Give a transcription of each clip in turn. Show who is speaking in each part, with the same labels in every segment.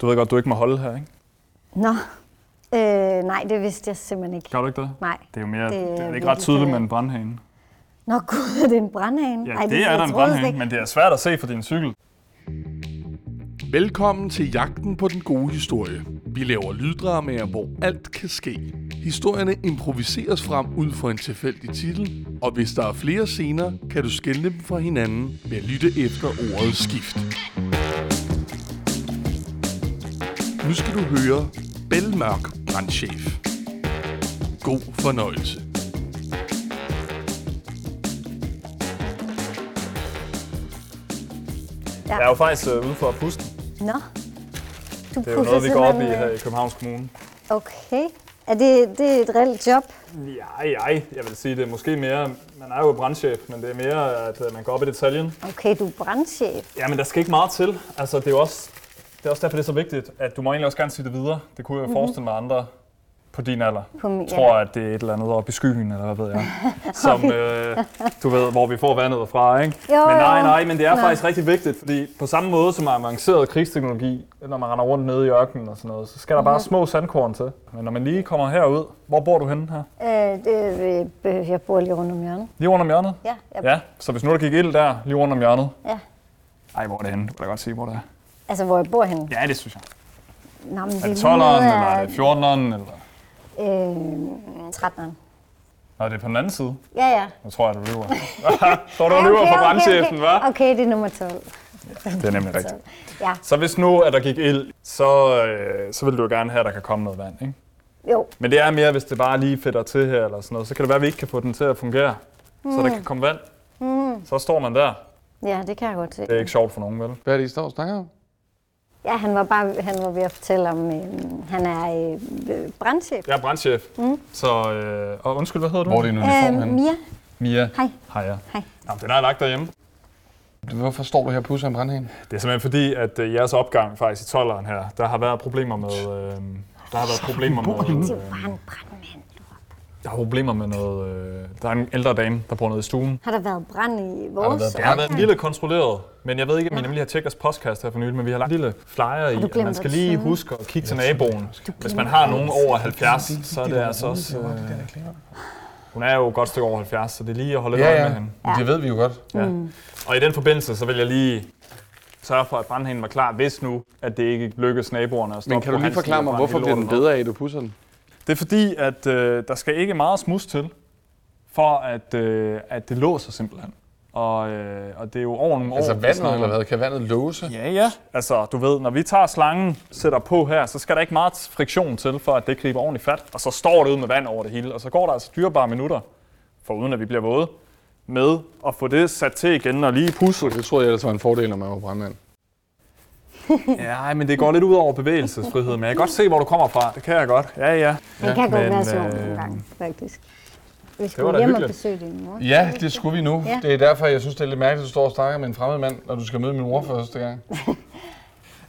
Speaker 1: Du ved godt, du ikke må holde her, ikke?
Speaker 2: Nå, øh, nej, det vidste jeg simpelthen ikke.
Speaker 1: Gør du ikke det?
Speaker 2: Nej.
Speaker 1: Det er jo mere,
Speaker 2: Det er
Speaker 1: det, det er ikke ret
Speaker 2: virkelig
Speaker 1: tydeligt
Speaker 2: ked
Speaker 1: med
Speaker 2: af.
Speaker 1: en brandhane.
Speaker 2: Nå gud, er det en brandhane?
Speaker 1: Ja,
Speaker 2: Ej,
Speaker 1: det er
Speaker 2: jeg
Speaker 1: da en
Speaker 2: troede slet
Speaker 1: brandhane,
Speaker 2: ikke.
Speaker 1: men det er svært at se for din cykel.
Speaker 3: Velkommen til Jagten på den gode historie. Vi laver lyddramaer, hvor alt kan ske. Historierne improviseres frem ud fra en tilfældig titel, og hvis der er flere scener, kan du skelne dem fra hinanden ved at lytte efter ordet skift. Nu skal du høre Bælmørk Brandchef. God fornøjelse.
Speaker 1: Jeg er jo faktisk øh, ude for at puste.
Speaker 2: Nå. Du
Speaker 1: Det er jo noget, vi går op i her i Københavns Kommune.
Speaker 2: øh, Okay. Er det, det er et reelt job?
Speaker 1: Ja, ja, jeg vil sige, det er måske mere, man er jo brandchef, men det er mere, at øh, man går op i detaljen.
Speaker 2: Okay, du er brandchef.
Speaker 1: Ja, men der skal ikke meget til. Altså, det er jo også, det er også derfor, det er så vigtigt, at du må egentlig også gerne sige det videre. Det kunne jeg jo forestille mig andre på din alder.
Speaker 2: Mhm. På min,
Speaker 1: tror, at det er et eller andet oppe i skyen, eller hvad ved jeg. Som, øh, du ved, hvor vi får vandet fra, ikke?
Speaker 2: Jo,
Speaker 1: men nej,
Speaker 2: jo.
Speaker 1: nej, men det er
Speaker 2: Nå.
Speaker 1: faktisk rigtig vigtigt, fordi på samme måde som avanceret krigsteknologi, når man render rundt nede i ørkenen og sådan noget, så skal der
Speaker 2: Mhm.
Speaker 1: bare små sandkorn til. Men når man lige kommer herud, hvor bor du henne her?
Speaker 2: Øh, det, øh, øh, jeg bor lige rundt om hjørnet.
Speaker 1: Lige rundt om hjørnet?
Speaker 2: Ja, jeg,
Speaker 1: Ja, så hvis nu der gik ild der, lige rundt om hjørnet.
Speaker 2: ja.
Speaker 1: Ej, hvor er det henne? Du kan da godt sige, hvor det er.
Speaker 2: Altså, hvor jeg bor henne.
Speaker 1: Ja, det synes jeg.
Speaker 2: Nå, men
Speaker 1: Er det
Speaker 2: lige
Speaker 1: 12'eren,
Speaker 2: nede
Speaker 1: eller
Speaker 2: af-
Speaker 1: er det 14'eren, eller...
Speaker 2: Øh, 13'eren.
Speaker 1: Nå, det er på den anden side.
Speaker 2: Ja, ja.
Speaker 1: Nu tror jeg, du lyver. Tror du, du lyver for brandchefen, hva'?
Speaker 2: okay. okay, det er nummer 12.
Speaker 1: Det er nemlig rigtigt.
Speaker 2: Ja,
Speaker 1: Så hvis nu, at der gik ild, så, øh, så vil du jo gerne have, at der kan komme noget vand, ikke?
Speaker 2: jo.
Speaker 1: Men det er mere, hvis det bare lige fedter til her eller sådan noget, så kan det være, at vi ikke kan få den til at fungere, mm. så der kan komme vand. Mm. Så står man der.
Speaker 2: Ja, det kan jeg godt se.
Speaker 1: Det er ikke sjovt for nogen, vel?
Speaker 4: Hvad er det, I står og snakker om?
Speaker 2: Ja, han var, bare, han var ved at fortælle om, øh, han er øh, brandchef.
Speaker 1: Jeg er brandchef, mm. så... Øh, og undskyld, hvad hedder du?
Speaker 4: Hvor er din uniform
Speaker 2: Øh,
Speaker 4: henne?
Speaker 2: Mia,
Speaker 1: Mia.
Speaker 2: hej.
Speaker 1: Hej. Ja.
Speaker 2: Hej.
Speaker 1: Jamen, den har jeg lagt derhjemme.
Speaker 4: Hvorfor står du her på en brandhane?
Speaker 1: Det er simpelthen fordi, at øh, jeres opgang faktisk i 12'eren her, der har været problemer med... Øh, der har været problemer med...
Speaker 2: Det
Speaker 1: Øh,
Speaker 2: var bare en brandmand.
Speaker 1: der har problemer med noget... Øh, der er en ældre dame, der bor nede i stuen.
Speaker 2: Har der været brand i vores?
Speaker 1: Det har været en lille kontrolleret, men jeg ved ikke, om I nemlig har tjekket vores postkasse her for nylig, men vi har lagt en lille flyer i,
Speaker 2: du
Speaker 1: at
Speaker 2: glemmer
Speaker 1: man skal
Speaker 2: at
Speaker 1: lige
Speaker 2: tænde.
Speaker 1: huske at kigge til naboen. Hvis man har nogen over 70, så er det altså også... Øh, hun er jo et godt stykke over 70, så det er lige at holde lidt
Speaker 4: Ja,
Speaker 1: øje
Speaker 4: ja.
Speaker 1: med hende.
Speaker 4: Men Det ved vi jo godt.
Speaker 1: Ja. Og i den forbindelse, så vil jeg lige sørge for, at brandhænden var klar, hvis nu, at det ikke lykkes naboerne at stoppe
Speaker 4: Men kan du lige
Speaker 1: Johansen
Speaker 4: forklare mig,
Speaker 1: fra
Speaker 4: hvorfor
Speaker 1: hele
Speaker 4: bliver den
Speaker 1: lortet op?
Speaker 4: bedre af, at du pusser den?
Speaker 1: Det er fordi, at øh, der skal ikke meget smus til, for at, øh, at det låser simpelthen. Og, øh, og det er jo over nogle
Speaker 4: Altså
Speaker 1: år. vi
Speaker 4: vandet
Speaker 1: snakker
Speaker 4: eller
Speaker 1: om.
Speaker 4: hvad? Kan vandet låse?
Speaker 1: Ja, ja. Altså, du ved, når vi tager slangen, sætter på her, så skal der ikke meget friktion til, for at det griber ordentligt fat. Og så står det ud med vand over det hele, og så går der altså dyrebare minutter, for uden at vi bliver våde, med at få det sat til igen og lige pusse.
Speaker 4: Det troede jeg ellers var en fordel, når man var brandmand.
Speaker 1: Ja, men det går lidt ud over bevægelsesfrihed, men jeg kan godt se, hvor du kommer fra. Det kan jeg godt. Ja, ja.
Speaker 2: Det kan godt
Speaker 1: men,
Speaker 2: være sjovt nogle
Speaker 1: øh,
Speaker 2: gange, faktisk. Vi
Speaker 1: var
Speaker 2: skulle
Speaker 1: da
Speaker 2: hjem og
Speaker 1: hyggeligt.
Speaker 2: besøge din mor.
Speaker 4: Ja, det skulle vi nu.
Speaker 2: Ja.
Speaker 4: Det er derfor, jeg synes, det er lidt mærkeligt, at du står og snakker med en fremmed mand, når du skal møde min mor første gang.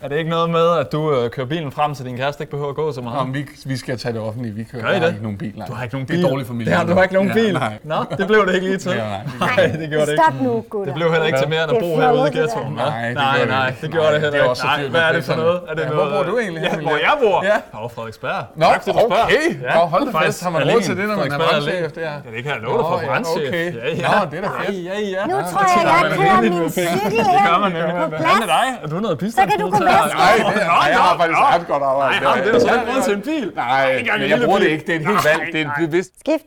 Speaker 1: Er det ikke noget med, at du øh, kører bilen frem, så din kæreste ikke behøver at gå så meget?
Speaker 4: Om vi, vi skal tage det offentlige. Vi kører
Speaker 1: Gør I
Speaker 4: jeg har
Speaker 1: det?
Speaker 4: ikke nogen bil. Nej.
Speaker 1: Du har ikke nogen
Speaker 4: Det
Speaker 1: bil.
Speaker 4: er dårligt for miljøet.
Speaker 1: Ja, du har ikke nogen
Speaker 4: Ja,
Speaker 1: bil.
Speaker 4: nej.
Speaker 1: Nå, det blev det ikke lige til.
Speaker 4: Ja, nej.
Speaker 1: Nej, det gjorde det ikke. Mm,
Speaker 2: Stop nu, gutter.
Speaker 1: Det blev heller ikke til mere end at
Speaker 2: Det er
Speaker 1: bo herude i
Speaker 2: fjollet, det
Speaker 1: ghettoen,
Speaker 4: der.
Speaker 1: hva'?
Speaker 4: Nej, det
Speaker 1: nej,
Speaker 4: gør det
Speaker 1: nej,
Speaker 4: ikke.
Speaker 1: det gjorde det
Speaker 4: Nej,
Speaker 1: heller
Speaker 4: det er
Speaker 1: ikke.
Speaker 4: også så
Speaker 1: Nej,
Speaker 4: dyrt,
Speaker 1: hvad er
Speaker 4: det
Speaker 1: det for
Speaker 4: er
Speaker 1: noget?
Speaker 4: sådan.
Speaker 1: Er det
Speaker 4: Ja,
Speaker 1: noget?
Speaker 4: hvor bor du egentlig
Speaker 1: Ja,
Speaker 4: henne,
Speaker 1: hvor
Speaker 4: Lea?
Speaker 1: jeg bor?
Speaker 4: Ja.
Speaker 1: På Frederiksberg.
Speaker 4: Nå,
Speaker 1: Tak, fordi du spørger.
Speaker 4: okay.
Speaker 1: Ja,
Speaker 4: Nå, hold da
Speaker 1: faktisk
Speaker 4: fast. Har man
Speaker 1: alene.
Speaker 4: råd til det, når man er
Speaker 1: Frederiksberg
Speaker 4: brandchef
Speaker 1: alene.
Speaker 4: der?
Speaker 1: Ja, det kan jeg love dig for,
Speaker 4: Nå, ja,
Speaker 1: brandchef.
Speaker 4: okay.
Speaker 1: Ja, ja.
Speaker 4: Nå, det er da fedt.
Speaker 1: Ja, ja, ja.
Speaker 2: Nu tror jeg, jeg kører min cykel
Speaker 1: Det
Speaker 2: hjem.
Speaker 1: gør man nemlig.
Speaker 2: På
Speaker 1: Hvad
Speaker 2: plads.
Speaker 1: med dig? Er du noget bistand?
Speaker 2: Så kan du gå med.
Speaker 4: Nej, det er, jeg har faktisk ret godt arbejde.
Speaker 1: Nej, det er jo så ikke råd til en bil.
Speaker 4: Nej,
Speaker 1: Ikke engang
Speaker 4: men
Speaker 1: en
Speaker 4: jeg
Speaker 1: lille
Speaker 4: bruger det
Speaker 1: bil.
Speaker 4: ikke. Det er et helt valg. Det er en bevidst
Speaker 2: Skift.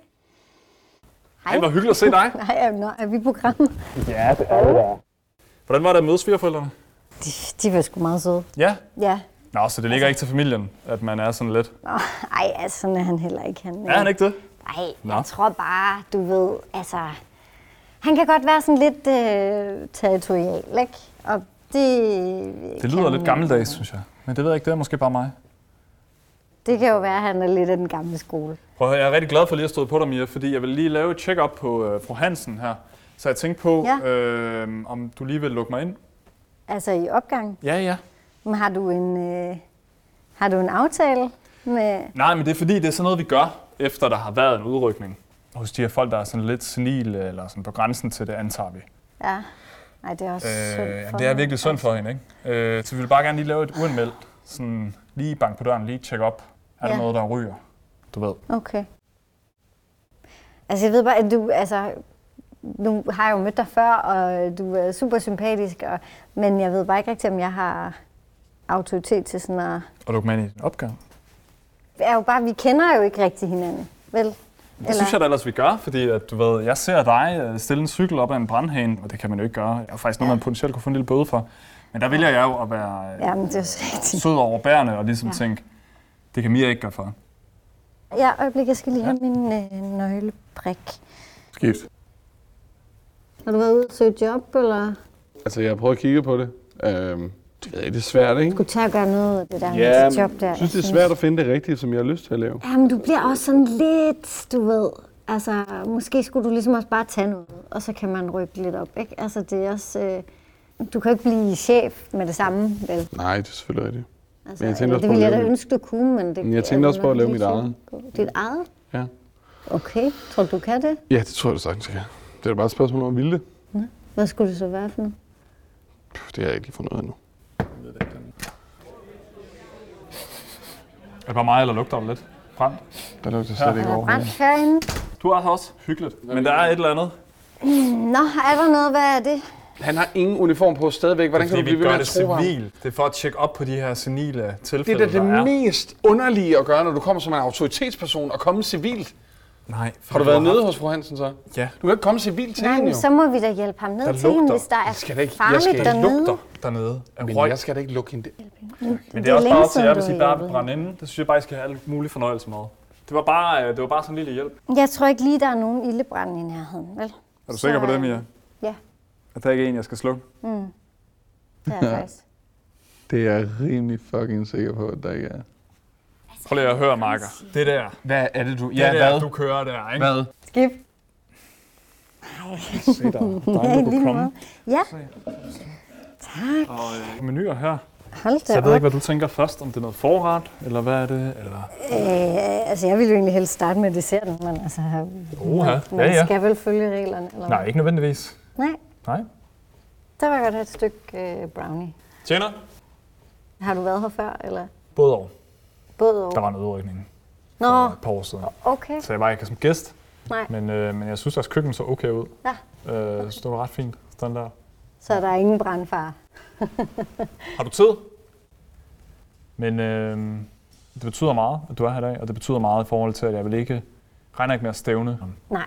Speaker 2: Hej.
Speaker 1: Ej, hvor hyggeligt at se dig.
Speaker 2: Nej, er, nå, er vi i programmet?
Speaker 1: Hvordan var det at møde svigerforældrene?
Speaker 2: De, de var sgu meget søde.
Speaker 1: Ja.
Speaker 2: Ja.
Speaker 1: Nå, så
Speaker 2: Altså-
Speaker 1: det ligger ikke til familien, at man er sådan lidt.
Speaker 2: Nå, ej, altså, sådan er han heller ikke. Han,
Speaker 1: Er han ikke det?
Speaker 2: Nej,
Speaker 1: Nå.
Speaker 2: jeg tror bare, du ved, altså... Han kan godt være sådan lidt øh, territorial, ikke? Og det...
Speaker 1: Det lyder lidt gammeldags, synes jeg. Men det ved jeg ikke, det er måske bare mig.
Speaker 2: Det kan jo være, at han er lidt af den gamle skole.
Speaker 1: Prøv at høre, jeg er rigtig glad for lige at stå på dig, Mia, fordi jeg vil lige lave et check-up på øh, fru Hansen her. Så jeg tænkte på,
Speaker 2: Ja.
Speaker 1: øh, om du lige vil lukke mig ind.
Speaker 2: Altså i opgangen.
Speaker 1: Ja, ja.
Speaker 2: Men har du en, øh, har du en aftale med...
Speaker 1: Nej, men det er fordi, det er sådan noget, vi gør, efter der har været en udrykning. Hos de her folk, der er sådan lidt senile, eller sådan på grænsen til det, antager vi.
Speaker 2: Ja. Nej, det er også øh,
Speaker 1: Øh,
Speaker 2: synd
Speaker 1: jamen,
Speaker 2: for
Speaker 1: det er
Speaker 2: ham.
Speaker 1: virkelig synd for hende, ikke? Øh, så vi vil bare gerne lige lave et uanmeldt Sådan lige bank på døren, lige tjek op. Er der
Speaker 2: Ja.
Speaker 1: noget, der ryger? Du ved.
Speaker 2: Okay. Altså, jeg ved bare, at du, altså, nu har jeg jo mødt dig før, og du er super sympatisk, og, men jeg ved bare ikke rigtigt, om jeg har autoritet til sådan at...
Speaker 1: Og du kan med ind i en opgave.
Speaker 2: Jeg er jo bare, vi kender jo ikke rigtig hinanden, vel?
Speaker 1: Det Eller? synes jeg da ellers, vi gør, fordi at, du ved, jeg ser dig øh, stille en cykel op ad en brandhane, og det kan man jo ikke gøre. Jeg er faktisk noget,
Speaker 2: Ja.
Speaker 1: man potentielt kunne få en lille bøde for. Men der vælger jeg jo at være øh,
Speaker 2: Jamen, det er jo så rigtigt.
Speaker 1: sød og overbærende og ligesom
Speaker 2: Ja.
Speaker 1: ja. tænke, det kan Mia ikke gøre for.
Speaker 2: Ja, øjeblik, jeg skal lige have min øh, nøglebrik.
Speaker 4: Skift.
Speaker 2: Har du været ude og søge job, eller
Speaker 4: Altså, jeg har prøvet at kigge på det. Øhm, det ved jeg, det er svært, ikke?
Speaker 2: skulle tage og gøre noget af det der
Speaker 4: Ja,
Speaker 2: med dit job der?
Speaker 4: jeg synes, det er svært at finde det rigtige, som jeg har lyst til at lave.
Speaker 2: Jamen, du bliver også sådan lidt, du ved. Altså, måske skulle du ligesom også bare tage noget, og så kan man rykke lidt op, ikke? Altså, det er også... Øh, du kan jo ikke blive chef med det samme, vel?
Speaker 4: Nej, det er selvfølgelig rigtigt.
Speaker 2: Altså,
Speaker 4: Men jeg tænkte
Speaker 2: eller
Speaker 4: også
Speaker 2: det
Speaker 4: på at
Speaker 2: ville jeg da
Speaker 4: lave mit-
Speaker 2: ønske, du kunne, men det...
Speaker 4: Men jeg tænkte også på at lave mit eget.
Speaker 2: Dit eget?
Speaker 4: Ja.
Speaker 2: Okay, tror du, du kan det?
Speaker 4: Ja, det tror jeg, du sagtens jeg kan. Det er da bare et spørgsmål om, vil det?
Speaker 2: Hvad skulle det så være for noget?
Speaker 4: Puh, det har jeg ikke lige fundet ud af endnu.
Speaker 1: Er det bare mig, eller lugter det lidt? Brand.
Speaker 4: Der lugter slet
Speaker 2: Er
Speaker 4: ikke
Speaker 2: der
Speaker 4: over.
Speaker 2: brændt herinde?
Speaker 1: Du er her også. Hyggeligt. Men der er et eller andet.
Speaker 2: Nå, er der noget? Hvad er det?
Speaker 5: Han har ingen uniform på stadigvæk. Hvordan kan
Speaker 1: Fordi
Speaker 5: du blive
Speaker 1: vi
Speaker 5: ved med
Speaker 1: gør
Speaker 5: at
Speaker 1: det
Speaker 5: tro på ham?
Speaker 1: civilt. Det er for at tjekke op på de her senile
Speaker 5: Det er
Speaker 1: tilfælde,
Speaker 5: da det
Speaker 1: der er.
Speaker 5: mest underlige at gøre, når du kommer som en autoritetsperson og komme civilt.
Speaker 1: Nej. for
Speaker 5: Har du været
Speaker 1: haft-
Speaker 5: nede hos fru Hansen så? Du
Speaker 1: Ja.
Speaker 5: kan ikke komme civilt til
Speaker 2: Nej,
Speaker 5: hende
Speaker 2: men
Speaker 5: jo.
Speaker 2: så må vi da hjælpe ham ned
Speaker 1: Der
Speaker 2: til hende,
Speaker 1: lugter.
Speaker 2: hvis der er
Speaker 5: Jeg skal da ikke- jeg
Speaker 2: farligt
Speaker 5: skal ikke
Speaker 1: Der
Speaker 2: dernede.
Speaker 1: lugter dernede af
Speaker 5: Men
Speaker 1: røg.
Speaker 5: jeg skal da ikke lukke hende.
Speaker 1: Men
Speaker 2: Det
Speaker 1: det
Speaker 2: er
Speaker 1: er også
Speaker 2: længe
Speaker 1: bare op til
Speaker 2: siden,
Speaker 1: jer,
Speaker 2: du
Speaker 1: hvis I
Speaker 2: har
Speaker 1: bare vil
Speaker 2: hjulpet.
Speaker 1: brænde inde. Det synes jeg bare, I skal have alt mulig fornøjelse med. Det var bare, øh, det var bare sådan en lille hjælp.
Speaker 2: Jeg tror ikke lige, der er nogen ildebrand i nærheden, vel?
Speaker 1: Er du
Speaker 2: sikker på det, Mia? Ja,
Speaker 1: At der ikke er en, jeg skal slukke?
Speaker 2: det er jeg faktisk.
Speaker 4: Det er jeg rimelig fucking sikker på, at der ikke er.
Speaker 1: Prøv lige at høre, Marker. Det der. Det
Speaker 5: Hvad er det, du...
Speaker 1: ja, der, du kører der, ikke?
Speaker 5: Hvad?
Speaker 2: Skip.
Speaker 1: Se der. Der er en, der
Speaker 2: lige
Speaker 1: kunne komme.
Speaker 2: måde. Ja,
Speaker 1: Og øh, menuer her.
Speaker 2: hold da
Speaker 1: Så jeg ved
Speaker 2: op.
Speaker 1: ikke, hvad du tænker først. Om det er noget forret, eller hvad er det? Eller...
Speaker 2: Øh, altså, jeg ville jo egentlig helst starte med desserten, men altså,
Speaker 1: Oha.
Speaker 2: man ja, ja. skal vel følge reglerne. Eller?
Speaker 1: Nej, ikke nødvendigvis.
Speaker 2: hvad? Nej,
Speaker 1: Nej.
Speaker 2: der var godt have et stykke øh, brownie.
Speaker 1: Tjener?
Speaker 2: Har du været her før, eller?
Speaker 1: Både år.
Speaker 2: Både over?
Speaker 1: Der var en udrykning for
Speaker 2: Nå,
Speaker 1: et par år siden.
Speaker 2: okay.
Speaker 1: Så jeg var ikke som gæst,
Speaker 2: Nej,
Speaker 1: men, øh, men jeg synes, deres køkken så okay ud.
Speaker 2: Ja.
Speaker 1: Øh, så det var ret fint. Standard.
Speaker 2: så er der ingen brandfare.
Speaker 1: Har du tid? Men øh, det betyder meget, at du er her i dag, og det betyder meget i forhold til, at jeg vil ikke regner ikke med at stævne ham.
Speaker 2: Nej,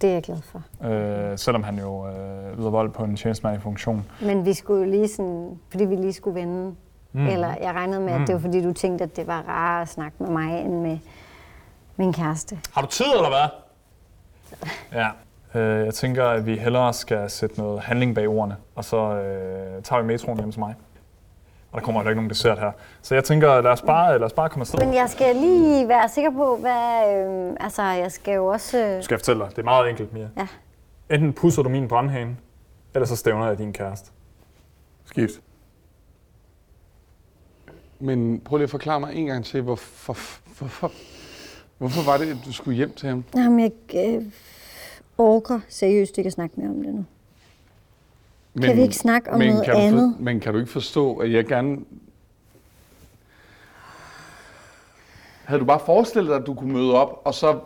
Speaker 2: det er jeg glad for.
Speaker 1: Øh, selvom han jo øh, yder vold på en tjenestemand i funktion.
Speaker 2: Men vi skulle jo lige sådan, fordi vi lige skulle vende. Mm. Eller jeg regnede med, at det var fordi, du tænkte, at det var rarere at snakke med mig, end med min kæreste.
Speaker 1: Har du tid, eller hvad? Ja. Øh, jeg tænker, at vi hellere skal sætte noget handling bag ordene, og så øh, tager vi metroen hjem til mig. Og der kommer heller ikke nogen dessert her. Så jeg tænker, lad os bare, lad os bare komme afsted.
Speaker 2: Men jeg skal lige være sikker på, hvad... Øh, altså, jeg skal jo også... Øh,
Speaker 1: skal jeg fortælle dig. Det er meget enkelt, Mia.
Speaker 2: Ja.
Speaker 1: Enten pusser du min brandhane, eller så stævner jeg din kæreste.
Speaker 4: Skift.
Speaker 5: Men prøv lige at forklare mig en gang til, hvorfor, hvorfor, hvorfor var det, at du skulle hjem til ham?
Speaker 2: Jamen, jeg øh, orker seriøst ikke at snakke mere om det nu.
Speaker 4: Men,
Speaker 2: vi ikke snakke om noget
Speaker 4: kan du for-
Speaker 2: andet?
Speaker 4: men kan du ikke forstå, at jeg gerne...
Speaker 5: Havde du bare forestillet dig, at du kunne møde op, og så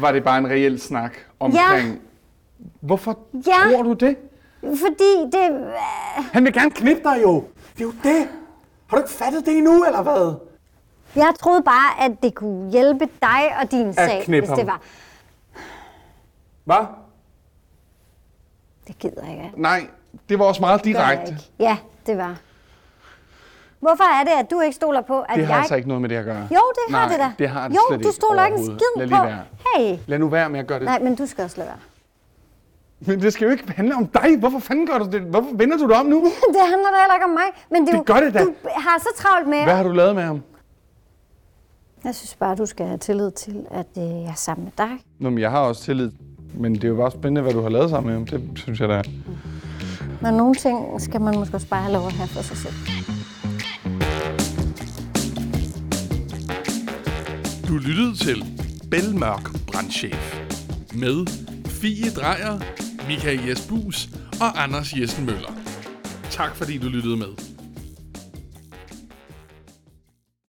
Speaker 5: var det bare en reel snak omkring... Hvorfor
Speaker 2: Ja.
Speaker 5: tror du det?
Speaker 2: Fordi det... øh,
Speaker 5: Han vil gerne knippe dig jo! Det er jo det! Har du ikke fattet det endnu, eller hvad?
Speaker 2: Jeg troede bare, at det kunne hjælpe dig og din sag,
Speaker 5: knip
Speaker 2: hvis
Speaker 5: ham.
Speaker 2: det var...
Speaker 5: Hvad?
Speaker 2: Det gider jeg ikke.
Speaker 5: Nej, det var også meget
Speaker 2: Det gør jeg
Speaker 5: direkte.
Speaker 2: ikke. Ja, det var. Hvorfor er det, at du ikke stoler på, at
Speaker 5: Det har
Speaker 2: jeg...
Speaker 5: altså ikke noget med det at gøre.
Speaker 2: Jo, det har
Speaker 5: Nej,
Speaker 2: det da.
Speaker 5: det har det
Speaker 2: jo,
Speaker 5: slet
Speaker 2: du
Speaker 5: ikke
Speaker 2: stoler ikke en
Speaker 5: overhovedet.
Speaker 2: skid
Speaker 5: Lad
Speaker 2: på.
Speaker 5: lige være.
Speaker 2: Hey!
Speaker 5: Lad nu være med at gøre det.
Speaker 2: Nej, men du skal også lade være.
Speaker 5: Men det skal jo ikke handle om dig. Hvorfor fanden gør du det? Hvorfor vender du dig om nu?
Speaker 2: det handler da heller ikke om mig. Men det, er
Speaker 5: Det
Speaker 2: jo,
Speaker 5: gør det da.
Speaker 2: Du har så travlt med...
Speaker 5: Hvad har du lavet med ham?
Speaker 2: Jeg synes bare, du skal have tillid til, at øh, jeg er sammen med dig.
Speaker 4: Nå, men jeg har også tillid, men det er jo bare spændende, hvad du har lavet sammen med ham. Det synes jeg, der er.
Speaker 2: Men nogle ting skal man måske også bare have lov at have for sig selv.
Speaker 3: Du lyttede til Belmørk Brandchef med Fie Drejer, Michael Jesbus og Anders Jessen Møller. Tak fordi du lyttede med.